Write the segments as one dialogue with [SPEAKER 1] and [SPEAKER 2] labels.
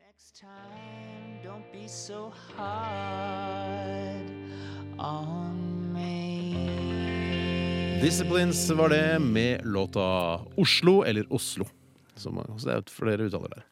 [SPEAKER 1] Next time, don't be so hard on me.
[SPEAKER 2] Disciplines var det med låta Oslo, eller Oslo, som man- så det er jo flere uttaler der.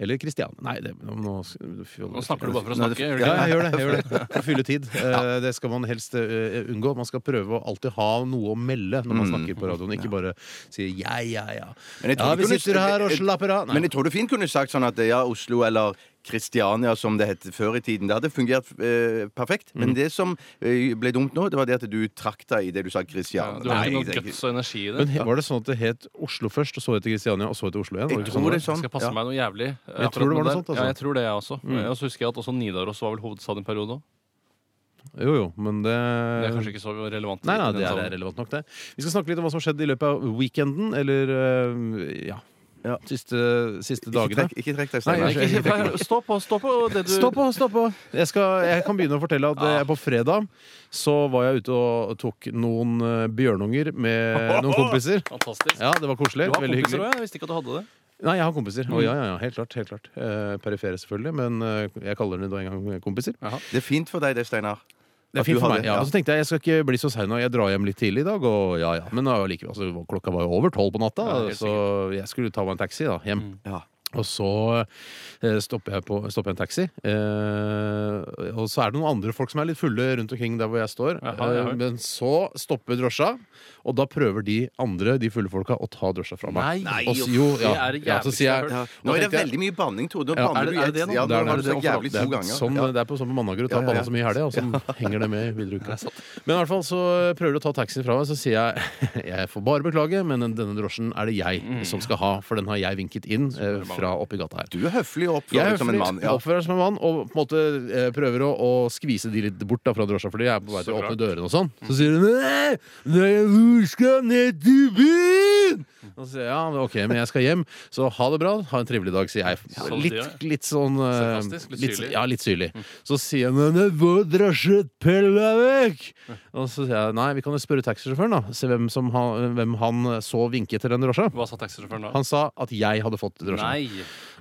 [SPEAKER 2] Eller Kristiane. Nei, det, nå,
[SPEAKER 3] Nå snakker du bare for å snakke. gjør du
[SPEAKER 2] Ja,
[SPEAKER 3] ikke?
[SPEAKER 2] jeg gjør det. Jeg gjør det. For å fylle tid. Eh, Det skal man helst eh, unngå. Man skal prøve å alltid ha noe å melde når man snakker på radioen. Ikke bare si ja, ja, ja.
[SPEAKER 4] Mm. Men jeg tror
[SPEAKER 2] Ja,
[SPEAKER 4] du
[SPEAKER 2] vi
[SPEAKER 4] kunne-
[SPEAKER 2] sitter her og slapper av.
[SPEAKER 4] Men
[SPEAKER 2] Nei.
[SPEAKER 4] jeg tror du fint kunne sagt sånn at ja, Oslo eller Kristiania, som det het før i tiden. Det hadde fungert eh, perfekt.
[SPEAKER 2] Mm.
[SPEAKER 4] Men det som eh, ble dumt nå, det var det at du trakk deg i det du sa Kristiania.
[SPEAKER 3] Du har ikke noe
[SPEAKER 4] jeg-
[SPEAKER 3] guts og energi i det.
[SPEAKER 2] Men he- var det sånn at det het Oslo først, og så etter Kristiania, og så etter Oslo igjen? Var
[SPEAKER 4] Jeg
[SPEAKER 2] det ikke
[SPEAKER 4] tror
[SPEAKER 2] sånn?
[SPEAKER 4] det er sånn.
[SPEAKER 3] Jeg skal passe
[SPEAKER 4] ja.
[SPEAKER 3] meg noe jævlig. eh,
[SPEAKER 2] Jeg tror det
[SPEAKER 3] akkurat
[SPEAKER 2] var noe
[SPEAKER 3] der.
[SPEAKER 2] sånt, altså. Mm.
[SPEAKER 3] Ja, jeg tror det, jeg også. Og så husker jeg at også Nidaros var vel hovedstad i en periode òg.
[SPEAKER 2] Jo, jo, men det
[SPEAKER 3] Det er kanskje ikke så relevant.
[SPEAKER 2] Nei, nei,
[SPEAKER 3] i den
[SPEAKER 2] det er
[SPEAKER 3] sammenhengen.
[SPEAKER 2] relevant nok, det. Vi skal snakke litt om hva som har skjedd i løpet av weekenden, eller eh, ja,
[SPEAKER 4] Ja.
[SPEAKER 2] siste, siste
[SPEAKER 4] Ikke
[SPEAKER 2] dagene.
[SPEAKER 4] trekk- Ikke trekk
[SPEAKER 2] Nei,
[SPEAKER 4] deg, Steinar.
[SPEAKER 2] kanskje-
[SPEAKER 3] Ikke- ikke- Stå på, stå på Ah. det du
[SPEAKER 2] Stå på, stå på! Jeg, skal, jeg kan begynne å fortelle at eh, jeg på fredag så var jeg ute og tok noen eh, bjørnunger med noen kompiser.
[SPEAKER 3] Fantastisk.
[SPEAKER 2] Ja, det var
[SPEAKER 3] Du
[SPEAKER 2] koselig.
[SPEAKER 3] har
[SPEAKER 2] Veldig
[SPEAKER 3] kompiser Mm.
[SPEAKER 2] hyggelig.
[SPEAKER 3] òg, jeg visste ikke at du hadde det.
[SPEAKER 2] Nei, jeg har kompiser. Å, ja, ja, ja, helt klart. helt klart eh, Perifere, selvfølgelig, men eh, jeg kaller dem da en gang kompiser.
[SPEAKER 4] Det er fint for deg, det, Steinar.
[SPEAKER 2] Det er
[SPEAKER 4] At du
[SPEAKER 2] fint for
[SPEAKER 4] har
[SPEAKER 2] meg.
[SPEAKER 4] det,
[SPEAKER 2] Ja.
[SPEAKER 4] ja.
[SPEAKER 2] Og så tenkte jeg jeg skal ikke bli så sein nå. Jeg drar hjem litt tidlig i dag. Og ja, ja. Men da, likevel, altså, klokka var jo over tolv på natta,
[SPEAKER 3] Ja, helt Mm.
[SPEAKER 2] så jeg skulle ta meg en taxi da, hjem.
[SPEAKER 4] Ja.
[SPEAKER 2] Og så eh, stopper jeg, på, stopper jeg en taxi. Eh, og så er det noen andre folk som er litt fulle rundt omkring der hvor jeg står.
[SPEAKER 3] Jaha, jaha.
[SPEAKER 2] Eh, men så stopper drosja, og da prøver de andre, de fulle folka, å ta drosja fra meg.
[SPEAKER 3] Nei,
[SPEAKER 2] og, så- jo,
[SPEAKER 3] uff,
[SPEAKER 2] ja,
[SPEAKER 3] det er det
[SPEAKER 2] ja, så
[SPEAKER 3] jævligste
[SPEAKER 2] sier
[SPEAKER 3] jeg har
[SPEAKER 2] jeg
[SPEAKER 3] hørt.
[SPEAKER 4] Ja.
[SPEAKER 2] Nå
[SPEAKER 4] Nå er det
[SPEAKER 2] tenkte jeg-
[SPEAKER 4] veldig mye banning, Tore. Nå
[SPEAKER 2] Ja,
[SPEAKER 4] banner
[SPEAKER 3] er
[SPEAKER 4] du
[SPEAKER 3] det- er det det nå?
[SPEAKER 4] Ja,
[SPEAKER 2] Det er,
[SPEAKER 4] nå har du
[SPEAKER 2] det,
[SPEAKER 4] sagt jævlig
[SPEAKER 2] det
[SPEAKER 4] to
[SPEAKER 2] er
[SPEAKER 4] ganger.
[SPEAKER 2] sånn,
[SPEAKER 4] Ja.
[SPEAKER 2] det er på, sånn på mandager å ta
[SPEAKER 4] Ja, ja,
[SPEAKER 2] banna
[SPEAKER 4] ja.
[SPEAKER 2] så mye i helga, og så henger det med videre i uka. Men i hvert fall så prøver de å ta taxien fra meg, så sier jeg jeg får bare beklage, men denne drosjen er det jeg som skal ha, for den har jeg vinket inn eh, fra oppi gata her.
[SPEAKER 4] Du er høflig og
[SPEAKER 2] Jeg
[SPEAKER 4] oppfører deg som en mann.
[SPEAKER 2] høflig,
[SPEAKER 4] Ja.
[SPEAKER 2] oppfører meg som en mann og på en måte eh, prøver å, å skvise de litt bort da fra drosja, for de er på vei til å
[SPEAKER 3] Så Mm. bra.
[SPEAKER 2] åpne dørene og sånn. Så sier de nei, nei, vi skal ned til byen! Og så sier jeg ja, OK, men jeg skal hjem, så ha det bra, ha en trivelig dag, sier jeg.
[SPEAKER 3] sånn
[SPEAKER 2] Litt,
[SPEAKER 3] sier jeg.
[SPEAKER 2] litt sånn eh,
[SPEAKER 3] Sarkastisk, litt syrlig. Mm.
[SPEAKER 2] Ja, litt syrlig. Så sier han nei, vår drosje peller deg vekk! Og så sier jeg nei, vi kan jo spørre taxisjåføren, da, se hvem, som han, hvem han så vinket til den drosja.
[SPEAKER 3] Hva sa taxisjåføren da?
[SPEAKER 2] Han sa at jeg hadde fått drosja.
[SPEAKER 3] Nei!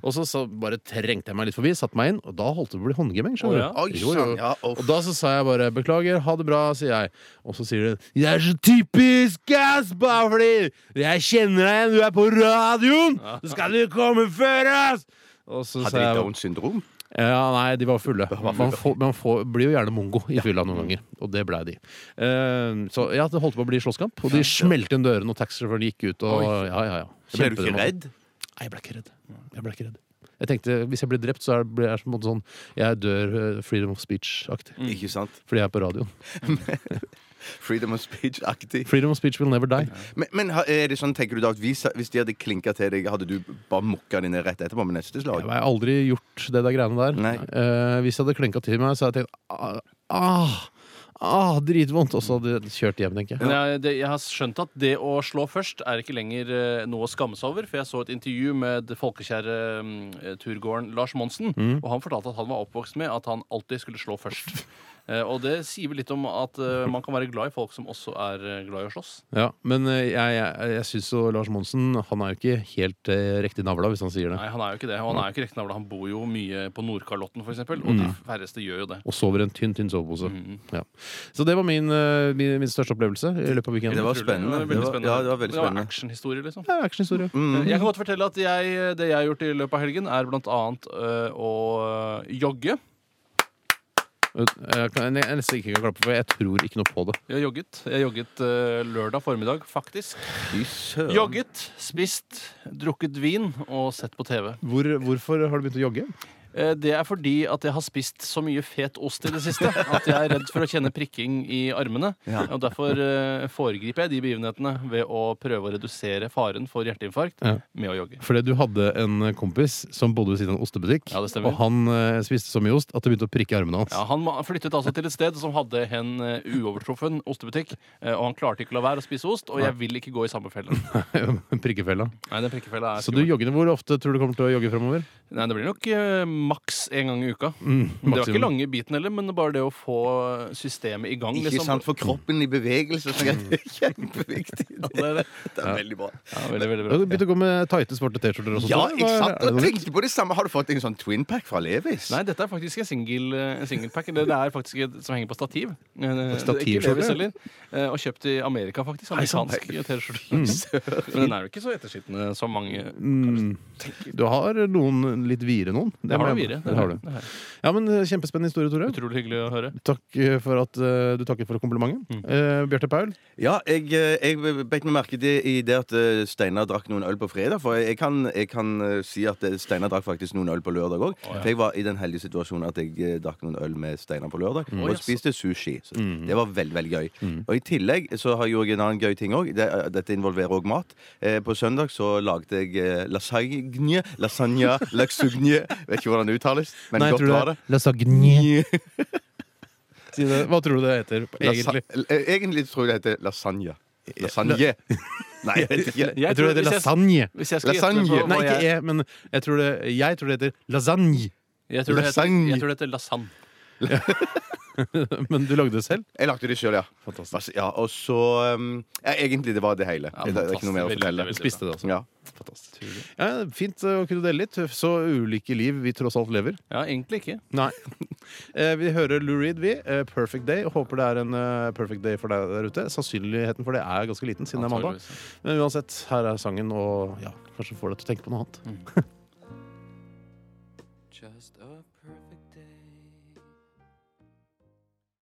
[SPEAKER 2] Og så, så bare trengte jeg meg litt forbi, satt meg inn, og da holdt det på å bli håndgemeng.
[SPEAKER 3] Å,
[SPEAKER 2] skjønner
[SPEAKER 3] ja.
[SPEAKER 2] du?
[SPEAKER 4] Oi,
[SPEAKER 2] Jo, jo.
[SPEAKER 4] sann, ja, uff.
[SPEAKER 2] Og da så sa jeg bare 'beklager, ha det bra', sier jeg. Og så sier hun 'det er så typisk ass, bare fordi jeg kjenner deg igjen, du er på radioen, så skal du komme før ass'! Og så
[SPEAKER 4] Hadde
[SPEAKER 2] sa
[SPEAKER 4] de
[SPEAKER 2] jeg
[SPEAKER 4] Downs syndrom?
[SPEAKER 2] ja, Nei, de var fulle. Man, får, man får, blir jo gjerne mongo i fylla noen ganger, og det blei de. Eh, så ja, det holdt på å bli slåsskamp, og de smelte inn dørene, og taxisjåføren gikk ut, og ja, ja, ja.
[SPEAKER 4] Ble du
[SPEAKER 2] Kjempe-
[SPEAKER 4] ikke redd?
[SPEAKER 2] Nei, jeg ble ikke redd. Jeg ble ikke redd. Jeg tenkte, Hvis jeg blir drept, så er det- blir jeg på en måte sånn Jeg dør eh, freedom of speech-aktig.
[SPEAKER 4] Ikke sant?
[SPEAKER 2] Fordi jeg er på radioen.
[SPEAKER 4] Freedom of speech-aktig.
[SPEAKER 2] Freedom of speech will never die.
[SPEAKER 4] Men, men ha- er det sånn, tenker du da at hvis, hvis de hadde klinka til deg, hadde du bare mokka dine rett etterpå med neste
[SPEAKER 2] Jeg
[SPEAKER 4] slag?
[SPEAKER 2] har aldri gjort det der greiene der.
[SPEAKER 4] Nei.
[SPEAKER 2] Eh, hvis jeg hadde klenka til meg, så hadde jeg tenkt ah, ah, ah, dritvondt. Og så hadde jeg kjørt hjem, tenker jeg.
[SPEAKER 3] Men jeg, det, jeg har skjønt at det å slå først er ikke lenger eh, noe å skamme seg over. For jeg så et intervju med det folkekjære mm, eh, turgåeren Lars Monsen.
[SPEAKER 4] Mm.
[SPEAKER 3] Og han fortalte at han var oppvokst med at han alltid skulle slå først. Eh, og det sier vel litt om at eh, man kan være glad i folk som også er eh, glad i å slåss.
[SPEAKER 2] Ja, men eh, jeg, jeg, jeg syns jo Lars Monsen Han er jo ikke helt eh, riktig navla, hvis han sier det.
[SPEAKER 3] Nei, han er jo ikke det. Og han er jo ikke riktig navla. Han bor jo mye på Nordkalotten, f.eks.
[SPEAKER 4] Mm.
[SPEAKER 3] Og de færreste gjør jo det. Mm.
[SPEAKER 2] Og sover i en tynn, tynn sovepose. Ja. Så det var min, eh, min, min største opplevelse i løpet av weekenden.
[SPEAKER 4] Det var spennende.
[SPEAKER 3] veldig
[SPEAKER 4] Det var- ja, det var veldig spennende.
[SPEAKER 3] actionhistorie, liksom.
[SPEAKER 2] Ja, actionhistorie.
[SPEAKER 4] Mm.
[SPEAKER 3] Jeg kan godt fortelle at jeg, det jeg har gjort i løpet av helgen, er blant annet øh, å øh, jogge.
[SPEAKER 2] Jeg kan jeg nesten ikke kan klappe, for jeg tror ikke noe på det.
[SPEAKER 3] Jeg har jogget, jeg har jogget øh, lørdag formiddag, faktisk.
[SPEAKER 4] Fy søren.
[SPEAKER 3] Jogget, spist, drukket vin og sett på TV.
[SPEAKER 2] hvorfor har du begynt å jogge?
[SPEAKER 3] Eh, Det er fordi at jeg har spist så mye fet ost i det siste at jeg er redd for å kjenne prikking i armene. Og Derfor eh, foregriper jeg de begivenhetene ved å prøve å redusere faren for hjerteinfarkt
[SPEAKER 2] Ja.
[SPEAKER 3] med å jogge.
[SPEAKER 2] Fordi du hadde en kompis som bodde ved siden av en ostebutikk.
[SPEAKER 3] Ja, det stemmer.
[SPEAKER 2] og han eh, spiste så mye ost at det begynte å prikke i armene hans.
[SPEAKER 3] Ja, han ma- flyttet altså til et sted som hadde en eh, uovertruffen ostebutikk, eh, og han klarte ikke å la være å spise ost, og jeg vil ikke gå i samme felle.
[SPEAKER 2] Prikkefella.
[SPEAKER 3] Nei, den prikkefella er
[SPEAKER 2] Så du
[SPEAKER 3] skummel.
[SPEAKER 2] joggende, hvor ofte tror du kommer til å jogge fremover?
[SPEAKER 3] Nei, det blir nok eh, maks én gang i uka. det var ikke
[SPEAKER 2] Mm, maksimum.
[SPEAKER 3] lange biten heller, men bare det å få systemet i gang.
[SPEAKER 4] Ikke
[SPEAKER 3] liksom.
[SPEAKER 4] sant? For kroppen i bevegelse så er
[SPEAKER 2] Mm.
[SPEAKER 4] det kjempeviktig. Det
[SPEAKER 3] det er det.
[SPEAKER 4] er veldig bra.
[SPEAKER 3] Ja, veldig, veldig
[SPEAKER 2] Du
[SPEAKER 3] bra.
[SPEAKER 2] har begynt å gå med tighte, svarte T-skjorter og sånt.
[SPEAKER 4] Ja,
[SPEAKER 2] Hva er-
[SPEAKER 4] ikke sant?
[SPEAKER 2] er det
[SPEAKER 4] Og
[SPEAKER 2] noe nytt?
[SPEAKER 4] tenkte på det samme. Har du fått en sånn twinpack fra Levis?
[SPEAKER 3] Nei, dette er faktisk en singel- en singelpack. Det det er faktisk et som henger på stativ. Eh,
[SPEAKER 2] stativ,
[SPEAKER 3] Ikke Levis
[SPEAKER 2] skjønner
[SPEAKER 3] heller. Eh, Og kjøpt i Amerika, faktisk. Amerikansk T-skjorte.
[SPEAKER 2] Mm.
[SPEAKER 3] Men den er jo ikke så ettersittende som mange.
[SPEAKER 2] Mm. Du har noen litt videre noen. Det
[SPEAKER 3] Jeg har
[SPEAKER 2] må
[SPEAKER 3] det
[SPEAKER 2] jeg-
[SPEAKER 3] videre.
[SPEAKER 2] Det har du. Ja, men eh, Kjempespennende historie, Tore.
[SPEAKER 3] Utrolig hyggelig å høre.
[SPEAKER 2] Takk eh, for at eh, du takket for komplimenten.
[SPEAKER 3] Mm.
[SPEAKER 2] Eh, Bjarte Paul,
[SPEAKER 4] Ja, jeg, eh, jeg beit meg merke det, i det at eh, Steinar drakk noen øl på fredag. For jeg kan, jeg kan eh, si at eh, Steinar drakk faktisk noen øl på lørdag òg. For jeg var i den heldige situasjonen at jeg eh, drakk noen øl med Steinar på lørdag.
[SPEAKER 2] Mm.
[SPEAKER 4] Og
[SPEAKER 3] jaså.
[SPEAKER 4] spiste sushi. Så det var veldig, veldig gøy. Og i tillegg så har jeg òg en annen gøy ting òg. Det, eh, dette involverer òg mat. Eh, på søndag så lagde jeg eh, lasagne. Lasagna laxugne. Vet ikke hvordan det uttales, men
[SPEAKER 2] Nei,
[SPEAKER 4] godt
[SPEAKER 2] tror
[SPEAKER 4] var
[SPEAKER 2] det
[SPEAKER 4] det.
[SPEAKER 2] er lasagne. Si det. Hva tror du det heter egentlig?
[SPEAKER 4] Lasa- eh, egentlig tror jeg det heter lasagna. Lasagne. Nei, jeg vet ikke.
[SPEAKER 2] Jeg tror det heter
[SPEAKER 3] hvis jeg-
[SPEAKER 2] lasagne.
[SPEAKER 3] Hvis jeg skal gjette
[SPEAKER 4] Lasagne.
[SPEAKER 3] på hva
[SPEAKER 2] Nei, ikke
[SPEAKER 3] jeg,
[SPEAKER 2] jeg, men jeg tror det, jeg tror det heter lasagne.
[SPEAKER 3] jeg, tror det heter,
[SPEAKER 4] Lasagne.
[SPEAKER 3] jeg tror det heter lasagne.
[SPEAKER 2] Men du lagde det selv?
[SPEAKER 4] Jeg lagde det sjøl, ja. Fantastisk. Ja, og så um, ja, Egentlig, det var det hele.
[SPEAKER 3] Ja,
[SPEAKER 4] det er ikke noe mer å
[SPEAKER 3] fantastisk. Veldig,
[SPEAKER 4] fortelle.
[SPEAKER 3] veldig
[SPEAKER 2] Spiste det, altså.
[SPEAKER 4] Ja.
[SPEAKER 2] Ja, fint eh, å kunne dele litt. Så ulike liv vi tross alt lever.
[SPEAKER 3] Ja, egentlig ikke.
[SPEAKER 2] Nei. Eh, Vi hører Lou Reed, vi. eh, 'Perfect Day'. og Håper det er en eh, perfect day for deg der ute. Sannsynligheten for det er ganske liten, siden det er mandag.
[SPEAKER 3] Antageligvis.
[SPEAKER 2] Men uansett, her er sangen, og ja, kanskje får deg til å tenke på noe annet.